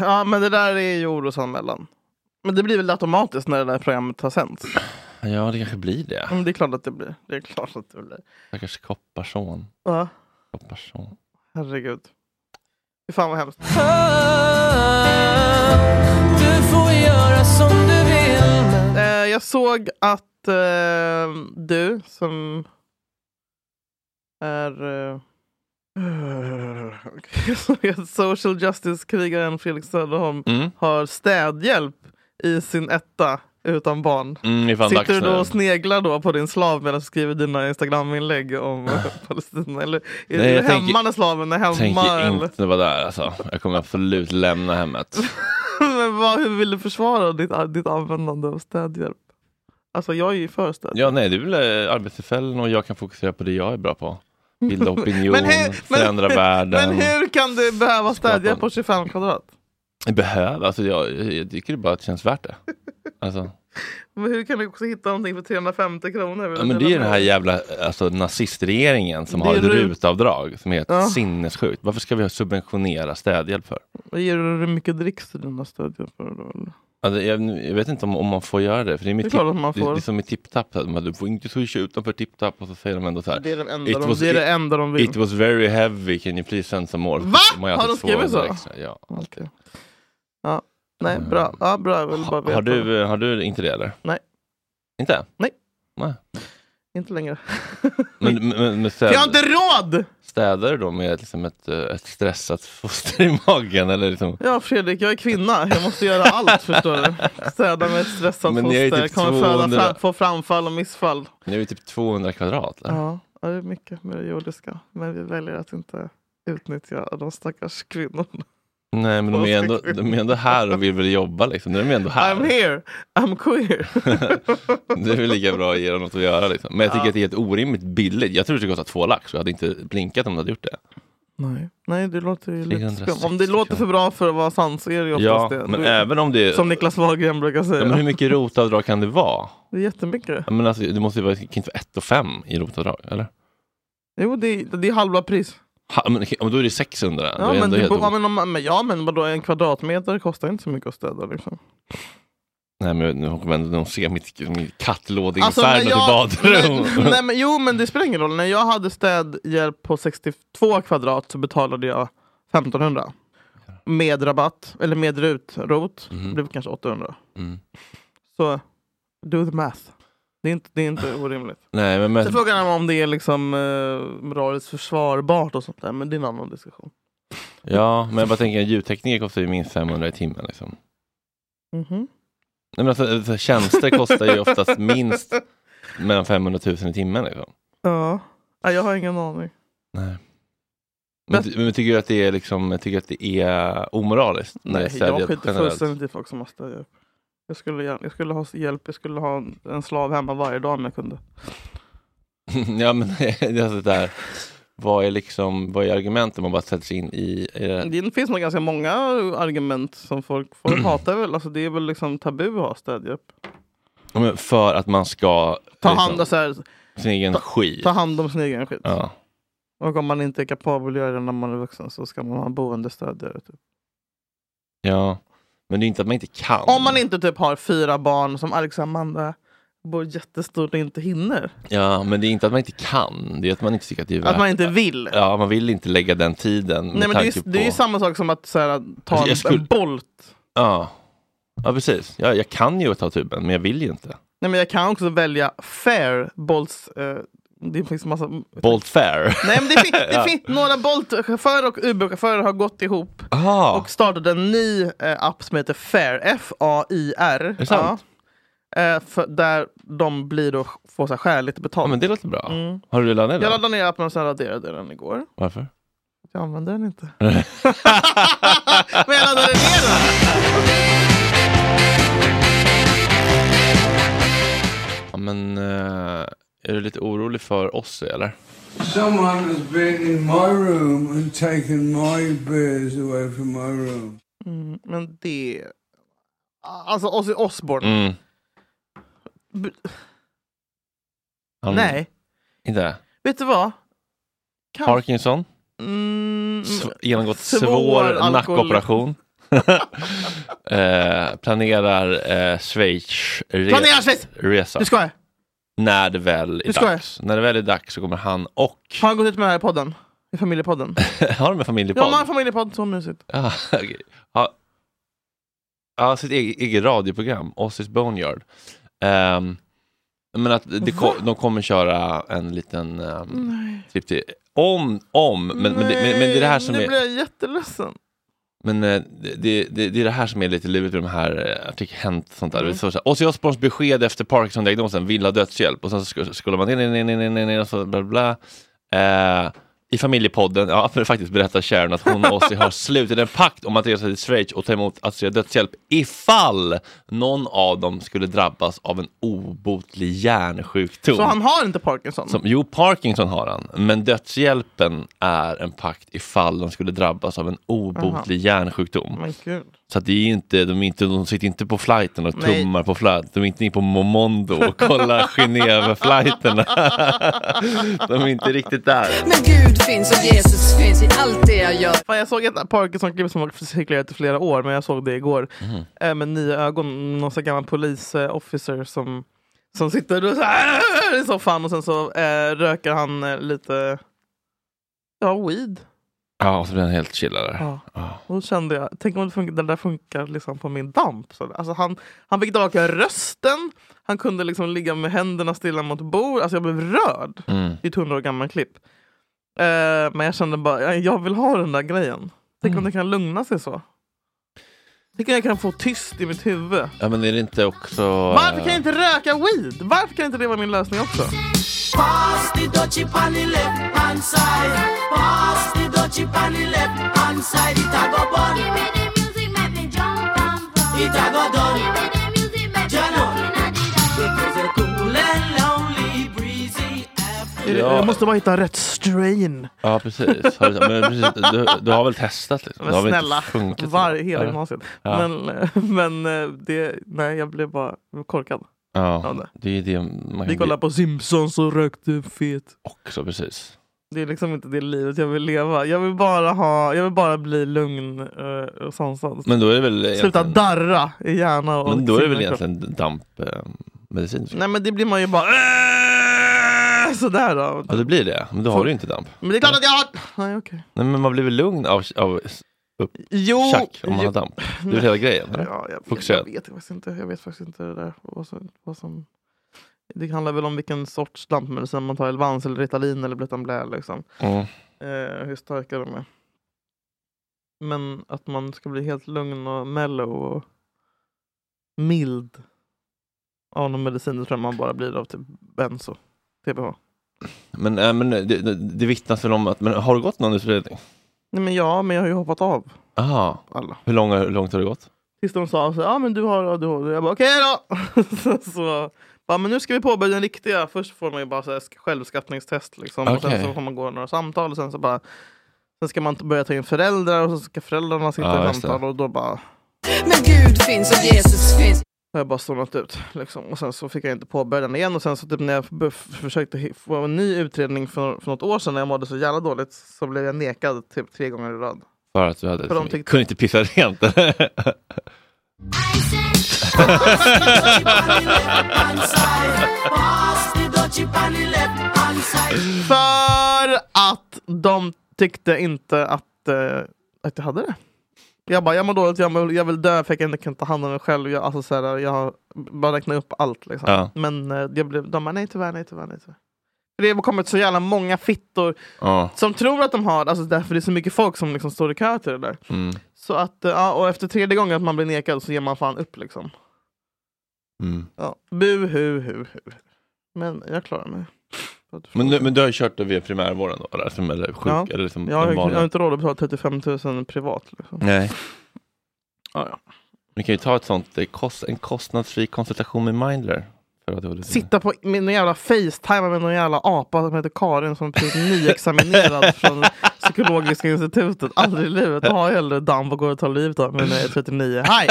Speaker 3: Ja men det där är ju orosanmälan. Men det blir väl automatiskt när det där programmet har sänts?
Speaker 6: Ja, det kanske blir det.
Speaker 3: Mm, det är klart att det blir. Det är klart att det blir.
Speaker 6: Stackars kopparson.
Speaker 3: Ja,
Speaker 6: Kopparson.
Speaker 3: herregud. Fy fan vad hemskt.
Speaker 2: Du får göra som du vill
Speaker 3: Eh, jag såg att eh, du som är eh, jag såg att social justice-krigaren Felix Söderholm
Speaker 6: Mm.
Speaker 3: har städhjälp i sin etta utan barn.
Speaker 6: Mm, det är fan dags
Speaker 3: Sitter du då
Speaker 6: nu.
Speaker 3: och sneglar då på din slav medan du skriver dina Instagram-inlägg om Palestina? Eller är
Speaker 6: Ah. Nej,
Speaker 3: du
Speaker 6: jag
Speaker 3: hemma
Speaker 6: tänker-
Speaker 3: när slaven är hemma?
Speaker 6: Tänker
Speaker 3: Eller?
Speaker 6: inte vara där alltså. Jag kommer absolut lämna hemmet.
Speaker 3: Men vad, hur vill du försvara ditt, ditt användande av städhjälp? Alltså jag är ju för städhjälp.
Speaker 6: Ja, nej, det är väl eh, arbetstillfällen och jag kan fokusera på det jag är bra på. Bilda opinion,
Speaker 3: Men hur- men-
Speaker 6: förändra världen.
Speaker 3: Men hur kan du behöva städhjälp på 25 kvadrat?
Speaker 6: Jag behöver, alltså jag, jag, jag tycker bara att det känns värt det. Alltså,
Speaker 3: Men hur kan du också hitta någonting för 350 kronor?
Speaker 6: ja, men det är ju den här jävla alltså, nazistregeringen som
Speaker 3: Det
Speaker 6: har
Speaker 3: är
Speaker 6: ett
Speaker 3: rut-
Speaker 6: rutavdrag som är helt
Speaker 3: Ja.
Speaker 6: sinnessjukt. Varför ska vi subventionera städhjälp för?
Speaker 3: Vad Ger du dig mycket dricks till dina stödhjälpare då? eller?
Speaker 6: Alltså, jag, jag vet inte om, om man får göra det. För det, är med
Speaker 3: Det är
Speaker 6: tip-
Speaker 3: klart att man
Speaker 6: det, det
Speaker 3: får.
Speaker 6: är som i TipTap, att man- du får inte swisha utanför TipTap och så säger de ändå så här.
Speaker 3: Det är den enda de- det är det enda de vill."
Speaker 6: It was very heavy, can you please send some more?
Speaker 3: Va?
Speaker 6: Man alltid
Speaker 3: Har de skrivit
Speaker 6: 200
Speaker 3: så?
Speaker 6: Extra, ja.
Speaker 3: Alltid. Ja, nej, bra. Ja, bra. Jag vill bara veta.
Speaker 6: Eh, Har, du, har du inte det eller?
Speaker 3: Nej.
Speaker 6: Inte?
Speaker 3: Nej.
Speaker 6: Nej.
Speaker 3: Inte längre.
Speaker 6: Men, men, men, men
Speaker 3: För
Speaker 6: städ,
Speaker 3: jag har inte råd!
Speaker 6: städar du då med liksom ett, eh, ett stressat foster i magen? Eller liksom?
Speaker 3: Ja, Fredrik, jag är kvinna. Jag måste göra allt, förstår du. Städa med ett stressat
Speaker 6: Men ni är ju
Speaker 3: foster.
Speaker 6: typ
Speaker 3: Kommer föda
Speaker 6: 200.
Speaker 3: fram, få framfall och missfall.
Speaker 6: Nu är vi typ 200 kvadrat. eller?
Speaker 3: Ja, ja, det är mycket med det jordiska. Men vi väljer att inte utnyttja de stackars kvinnorna.
Speaker 6: Nej, men de är, ändå, de är ändå här och vill väl jobba liksom. Nu är de ändå här.
Speaker 3: I'm here, I'm queer.
Speaker 6: Det är väl lika bra att ge dem något att göra. Liksom. Men jag tycker
Speaker 3: Ja.
Speaker 6: att det är helt orimligt billigt. Jag tror det skulle kosta två lax och jag hade inte blinkat om de hade gjort det.
Speaker 3: Nej, nej det låter ju lite
Speaker 6: 360
Speaker 3: skumt. Om det låter för bra för att vara sant så är det ju
Speaker 6: Ja,
Speaker 3: oftast det.
Speaker 6: men
Speaker 3: Du-
Speaker 6: även om det-
Speaker 3: Som Niklas Wahlgren brukar säga.
Speaker 6: Ja, men hur mycket rotavdrag kan det vara?
Speaker 3: Det är jättemycket.
Speaker 6: Ja, Men alltså, det måste ju vara, det kan inte vara 1 och 5 i rotavdrag, eller?
Speaker 3: Jo, det är, det är halva pris.
Speaker 6: Ha, men, okej, men då är det 600.
Speaker 3: Ja
Speaker 6: det är
Speaker 3: men,
Speaker 6: ändå
Speaker 3: du,
Speaker 6: helt
Speaker 3: bo- ja,
Speaker 6: o-
Speaker 3: men, om, men, ja, men vadå, en kvadratmeter kostar inte så mycket att städa. Liksom.
Speaker 6: Nej, men nu kommer ändå de se mitt, mitt
Speaker 3: Alltså,
Speaker 6: kattlådeinferno
Speaker 3: när jag-
Speaker 6: till badrum.
Speaker 3: Nej, nej, men, jo, men det spelar ingen roll. När jag hade städhjälp på 62 kvadrat så betalade jag 1500. Med rabatt, eller med rut-rot,
Speaker 6: Mhm.
Speaker 3: blev det kanske 800.
Speaker 6: Mm.
Speaker 3: Så do the math. Det är inte, det är inte orimligt.
Speaker 6: Nej, men, men,
Speaker 3: Sen frågan är om det är liksom eh, moraliskt försvarbart och sånt där, men det är en annan diskussion.
Speaker 6: ja, men jag bara tänker, ljudtekniker kostar ju minst 500 i timmen. Liksom.
Speaker 3: Mhm.
Speaker 6: Nej, men alltså, så här, tjänster kostar ju oftast minst mellan 500 000 i timmen. Liksom.
Speaker 3: Ja, Nej, jag har ingen aning.
Speaker 6: Nej. Men, ty- men tycker du att det är, liksom, tycker du att det är omoraliskt? När det är
Speaker 3: Nej, jag
Speaker 6: städhjälp
Speaker 3: skiter
Speaker 6: generellt?
Speaker 3: fullständigt i folk som har städhjälp. Jag skulle, gärna- jag skulle ha hjälp, jag skulle ha en slav hemma varje dag om jag kunde.
Speaker 6: ja, men det är alltså där. Vad är, liksom, vad är argumentet om man bara sätter sig in i, eh, i det? här?
Speaker 3: Det finns nog ganska många argument som folk, folk hatar väl. Alltså det är väl liksom tabu att ha städhjälp.
Speaker 6: Ja, men För att man ska
Speaker 3: Ta
Speaker 6: liksom,
Speaker 3: hand om, så här,
Speaker 6: sin egen
Speaker 3: ta,
Speaker 6: skit.
Speaker 3: ta hand om sin egen skit.
Speaker 6: Ja.
Speaker 3: Och om man inte är kapabel att göra det när man är vuxen så ska man ha en boendestödjare. Typ.
Speaker 6: Mm. ja, men det är inte att man inte kan.
Speaker 3: Om man inte typ har fyra barn som Alex och Amanda bor jättestort och inte hinner.
Speaker 6: Ja, men det är inte att man inte kan. Det är att man inte tycker att det är värt
Speaker 3: Att man inte vill.
Speaker 6: Ja, man vill inte lägga den tiden. med
Speaker 3: Nej, men det, är,
Speaker 6: tanke
Speaker 3: ju- det är ju
Speaker 6: på- Alltså,
Speaker 3: samma sak som att så här, ta
Speaker 6: Jag
Speaker 3: en,
Speaker 6: skulle-
Speaker 3: en bolt.
Speaker 6: Ja, ja precis. Jag, jag kan ju ta tuben, men jag vill ju inte.
Speaker 3: Nej, men jag kan också välja fair bolts, eh, Det är faktiskt massa...
Speaker 6: Bolt Fair.
Speaker 3: Nej, men det finns det
Speaker 6: Ja.
Speaker 3: finns några Bolt-chaufförer och Uber-chaufförer har gått ihop och startat en ny eh, app som heter Fair, F-A-I-R.
Speaker 6: det sant?
Speaker 3: Ja. Eh, för, där de blir då, får så här skäligt betalt. Ja, men
Speaker 6: det låter bra.
Speaker 3: Mm.
Speaker 6: Har du laddat ner
Speaker 3: Jag
Speaker 6: den?
Speaker 3: laddade ner appen och sen raderade jag den igår.
Speaker 6: Varför?
Speaker 3: Jag använder den inte. men jag laddade ner
Speaker 6: Ja, men eh, är du lite orolig för oss eller?
Speaker 7: Someone has been in my room and taken my beers away from my room.
Speaker 3: den. Mm, men det... Alltså Ozzy Osbourne.
Speaker 6: Mm.
Speaker 3: B-
Speaker 6: Han-
Speaker 3: Nej,
Speaker 6: Inte?
Speaker 3: vet du vad? Kanske-
Speaker 6: Parkinson?
Speaker 3: Mm,
Speaker 6: Sv- genomgått svår,
Speaker 3: svår alkohol-
Speaker 6: nackoperation. eh, planerar eh, Schweiz
Speaker 3: Planerar Schweiz!
Speaker 6: resa.
Speaker 3: Du skojar?
Speaker 6: När det väl är
Speaker 3: Du skojar?
Speaker 6: dags. När det väl är dags så kommer han och...
Speaker 3: Har han gått ut med den här i podden? I familjepodden?
Speaker 6: har de en
Speaker 3: Ja, man
Speaker 6: familjepodd?
Speaker 3: har familjepodd, så mysigt.
Speaker 6: Ja, okej. ja. ja, sitt eget, eget radioprogram, Ossis Boneyard. Ehm, men att det ko- de kommer köra en liten um,
Speaker 3: Nej.
Speaker 6: trip till... Om, om, men, men, det, men, men det är det här som
Speaker 3: nu
Speaker 6: är...
Speaker 3: blir jag jätteledsen.
Speaker 6: Men eh, det, det, det är det här som är lite lurigt med de här eh, artikel hänt sånt där.
Speaker 3: Mm.
Speaker 6: Det står så här, Ozzy Osbournes besked efter Parkinson-diagnosen, vill ha dödshjälp. Och sen så sk- scrollar man ner, ner, ner, ner, ner, ner, och så bla bla. Eh, I familjepodden, ja för faktiskt berättar Sharon att hon och Ozzy har slutit en pakt om att resa till Schweiz och ta emot assisterad dödshjälp ifall någon av dem skulle drabbas av en obotlig hjärnsjukdom.
Speaker 3: Så han har inte Parkinson?
Speaker 6: Som, jo, Parkinson har han, men dödshjälpen är en pakt ifall de skulle drabbas av en obotlig hjärnsjukdom.
Speaker 3: Men gud.
Speaker 6: Så att det är inte, de, är inte, de sitter inte på flighten och
Speaker 3: Nej.
Speaker 6: tummar på flight. De är inte inne på Momondo och kollar Genève-flighterna. de är inte riktigt där.
Speaker 20: Men Gud finns och Jesus finns i allt det jag gör.
Speaker 3: Fan, jag såg ett Parkinson-klipp som har cirkulerat i flera år, men jag såg det igår.
Speaker 6: Mm.
Speaker 20: Mhm.
Speaker 3: Eh, med nya ögon, någon sån gammal polis-officer som, som sitter och så här, i soffan och sen så eh, röker han eh, lite ja, weed.
Speaker 6: Ja, och så blir han helt chillad där.
Speaker 3: Ja. Och då kände jag, tänk om det, funkar, det där funkar liksom på min damp. Så där. Alltså han, han fick raka rösten, han kunde liksom ligga med händerna stilla mot bord. Alltså jag blev rörd.
Speaker 6: Mm.
Speaker 3: Det är ett hundra år gammalt klipp. Eh, men jag kände bara, jag- jag vill ha den där grejen. Tänk om det kan lugna sig så. Tänk om jag kan få tyst i mitt huvud.
Speaker 6: Ja, men är det inte också... eh,
Speaker 3: Varför kan jag inte röka weed? Varför kan inte det vara min lösning också?
Speaker 21: Pass the dutch chip on the left hand side. Pass the dutch chip on the left hand side. It a go burn. Give me the music, make me jump and run. It a go done. Give me the music, make me jump and Because it's cool and lonely, breezy.
Speaker 3: Eh,
Speaker 6: Ja.
Speaker 3: Jag måste bara hitta rätt strain.
Speaker 6: Ja, precis. Har du, men precis du, du har väl testat? Liksom.
Speaker 3: Men
Speaker 6: det har väl
Speaker 3: snälla,
Speaker 6: inte funkat?
Speaker 3: var, hela
Speaker 6: Ja.
Speaker 3: gymnasiet.
Speaker 6: Ja.
Speaker 3: Men, men eh, det, nej, jag blev bara korkad. av
Speaker 6: ja,
Speaker 3: det.
Speaker 6: det är det man
Speaker 3: Vi
Speaker 6: kan bli
Speaker 3: kollade på Simpsons och rökte fet.
Speaker 6: också, precis.
Speaker 3: Det är liksom inte det livet jag vill leva. Jag vill bara, ha, jag vill bara bli lugn eh, och sansad.
Speaker 6: Men då är det väl
Speaker 3: Sluta
Speaker 6: egentligen-
Speaker 3: darra i hjärna och
Speaker 6: Men då är det väl
Speaker 3: sinnekropp.
Speaker 6: egentligen eh, dampmedicin?
Speaker 3: Nej men det blir man ju bara... eh, Sådär då.
Speaker 6: Ja, det blir det. Men då har du ju inte damp.
Speaker 3: Men det är klart att jag har... Nej, okej.
Speaker 6: Nej, men man blir väl lugn av, av upp,
Speaker 3: Jo,
Speaker 6: tjack om man
Speaker 3: jo.
Speaker 6: har damp? Det är väl hela grejen? eller?
Speaker 3: Ja, jag, vet,
Speaker 6: Fokuserad.
Speaker 3: jag, vet faktiskt inte, jag vet faktiskt inte det där. Vad som, vad som, det handlar väl om vilken sorts dampmedicin man tar. Elvans eller Ritalin eller Bletan Blä. Liksom.
Speaker 6: Mm.
Speaker 3: Eh, hur starka de är. Men att man ska bli helt lugn och mellow och mild av någon medicin, det tror jag man bara blir av typ benzo. TBH.
Speaker 6: Men, äh, men det, det, det vittnas väl om att, men har det gått någon utredning?
Speaker 3: Nej men ja, men jag har ju hoppat av.
Speaker 6: Aha. Hur, lång, hur långt har det gått?
Speaker 3: Tills de sa så, ja men du har ADHD. Jag bara okej då! så, så, bara, men nu ska vi påbörja den riktiga. Först får man ju bara så här, sk- självskattningstest liksom. Och sen
Speaker 6: Okej.
Speaker 3: så får man gå några samtal och sen så bara Sen ska man t- börja ta in föräldrar och så ska föräldrarna sitta
Speaker 6: Ja,
Speaker 3: i
Speaker 6: just
Speaker 3: samtal
Speaker 6: det.
Speaker 3: och då bara
Speaker 20: Men Gud finns och Jesus finns.
Speaker 3: har jag bara zonat ut. Liksom. Och sen så fick jag inte påbörja den igen. Och sen så typ när jag be- f- försökte hi- få en ny utredning för, för något år sedan när jag mådde så jävla dåligt så blev jag nekad typ tre gånger i rad.
Speaker 6: För att du hade,
Speaker 3: För de tyckte-
Speaker 6: kunde inte pissa rent?
Speaker 21: Pass the dutch chip on the left hand side.
Speaker 3: För att de tyckte inte att, eh, att jag hade det. Jag bara, jag mår dåligt, jag, mår, jag vill dö för jag kan inte kan ta hand om mig själv. Jag, alltså, så här, jag har bara räknat upp allt. Liksom.
Speaker 6: Ja.
Speaker 3: Men eh, jag blev, de bara, nej tyvärr, nej tyvärr, nej tyvärr. För Det har kommit så jävla många fittor
Speaker 6: Ja.
Speaker 3: som tror att de har, alltså därför det är så mycket folk som liksom står i kö till det där.
Speaker 6: Mm.
Speaker 3: Så att, eh, ja, och efter tredje gången att man blir nekad så ger man fan upp liksom.
Speaker 6: Mm.
Speaker 3: Ja. Bu, hu, hu, hu. Men jag klarar mig.
Speaker 6: Men, du, men du har ju kört det via primärvården då? Eller, som- eller sjuk?
Speaker 3: Ja.
Speaker 6: Eller liksom
Speaker 3: jag, har,
Speaker 6: den
Speaker 3: jag
Speaker 6: vanliga?
Speaker 3: har inte råd att betala 35 000 privat. Liksom.
Speaker 6: Nej.
Speaker 3: Ja, ja.
Speaker 6: Vi kan ju ta ett sånt, det kost, en kostnadsfri konsultation med Mindler. För att det var lite-
Speaker 3: Sitta på min jävla facetime med någon jävla apa som heter Karin som är precis nyexaminerad från psykologiska institutet. Aldrig i livet. Då har jag hellre Dumbo går och tar livet av mig när jag är 39. Hej!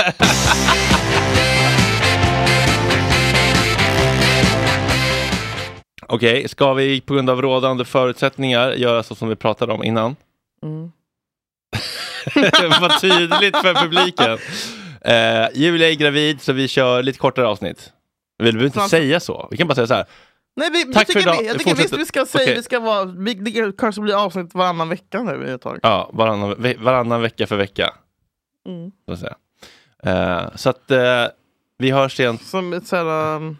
Speaker 6: Okej, ska vi på grund av rådande förutsättningar göra så som vi pratade om innan?
Speaker 3: Mm.
Speaker 6: Vad tydligt för publiken. Eh, Julia är gravid så vi kör lite kortare avsnitt. Vi behöver inte
Speaker 3: Framför-
Speaker 6: säga så. Vi kan bara säga så här.
Speaker 3: Nej, vi,
Speaker 6: Tack
Speaker 3: Tack
Speaker 6: för
Speaker 3: tycker
Speaker 6: idag.
Speaker 3: Vi, jag
Speaker 6: Vi
Speaker 3: tycker visst
Speaker 6: fortsätter.
Speaker 3: vi ska säga,
Speaker 6: Okej.
Speaker 3: vi ska vara, vi, det kanske blir avsnitt varannan vecka nu ett tag.
Speaker 6: Ja, varannan, ve- varannan vecka för vecka.
Speaker 3: Mm.
Speaker 6: Så att, säga. Eh, så att eh, vi hörs igen.
Speaker 3: Som ett såhär... Um...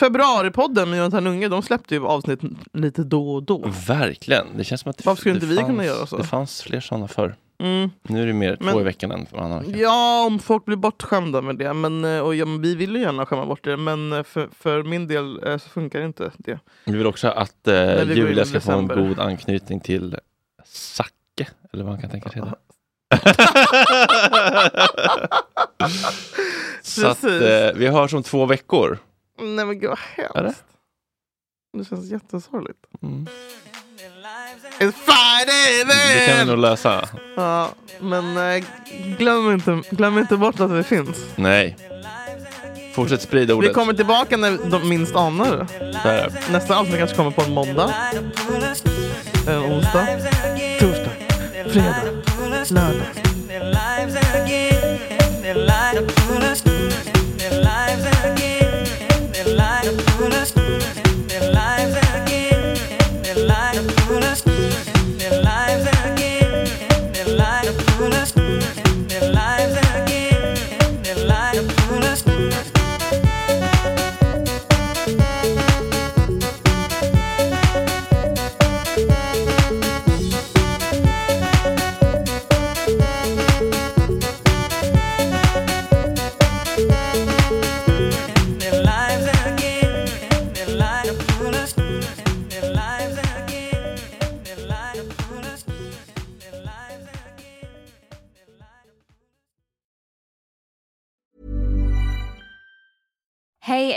Speaker 3: Februaripodden med Jonathan Unge, de släppte ju avsnitt lite då och
Speaker 6: Mm.
Speaker 3: då.
Speaker 6: Verkligen. Det känns som att det,
Speaker 3: Varför skulle
Speaker 6: det
Speaker 3: inte vi
Speaker 6: fanns,
Speaker 3: kunna göra så?
Speaker 6: Det fanns fler sådana förr.
Speaker 3: Mm.
Speaker 6: Nu är det mer två
Speaker 3: Men-
Speaker 6: i veckan än varannan vecka.
Speaker 3: Ja, om folk blir bortskämda med det. Men, eh, och ja, men vi vill ju gärna skämma bort det, men eh, för, för min del eh, så funkar inte det.
Speaker 6: Vi vill också att
Speaker 3: vi
Speaker 6: eh,
Speaker 3: går in i
Speaker 6: Julia ska få en
Speaker 3: december.
Speaker 6: god anknytning till Zacke, eller vad han kan tänka sig. heta. Så att,
Speaker 3: Precis.
Speaker 6: eh, vi hörs om två veckor.
Speaker 3: Nej men gud vad hemskt.
Speaker 6: Eller?
Speaker 3: Det känns jättesorgligt.
Speaker 6: Mm.
Speaker 3: It's Friday
Speaker 6: Det kan vi
Speaker 3: man!
Speaker 6: nog lösa.
Speaker 3: Ja, men eh, glöm, inte, glöm inte bort att vi finns.
Speaker 6: Nej. Fortsätt sprida ordet.
Speaker 3: Vi kommer tillbaka när de minst anar det.
Speaker 6: Så här är det.
Speaker 3: Nästa avsnitt kanske kommer på en måndag, en onsdag, torsdag, fredag, lördag.
Speaker 1: Hey,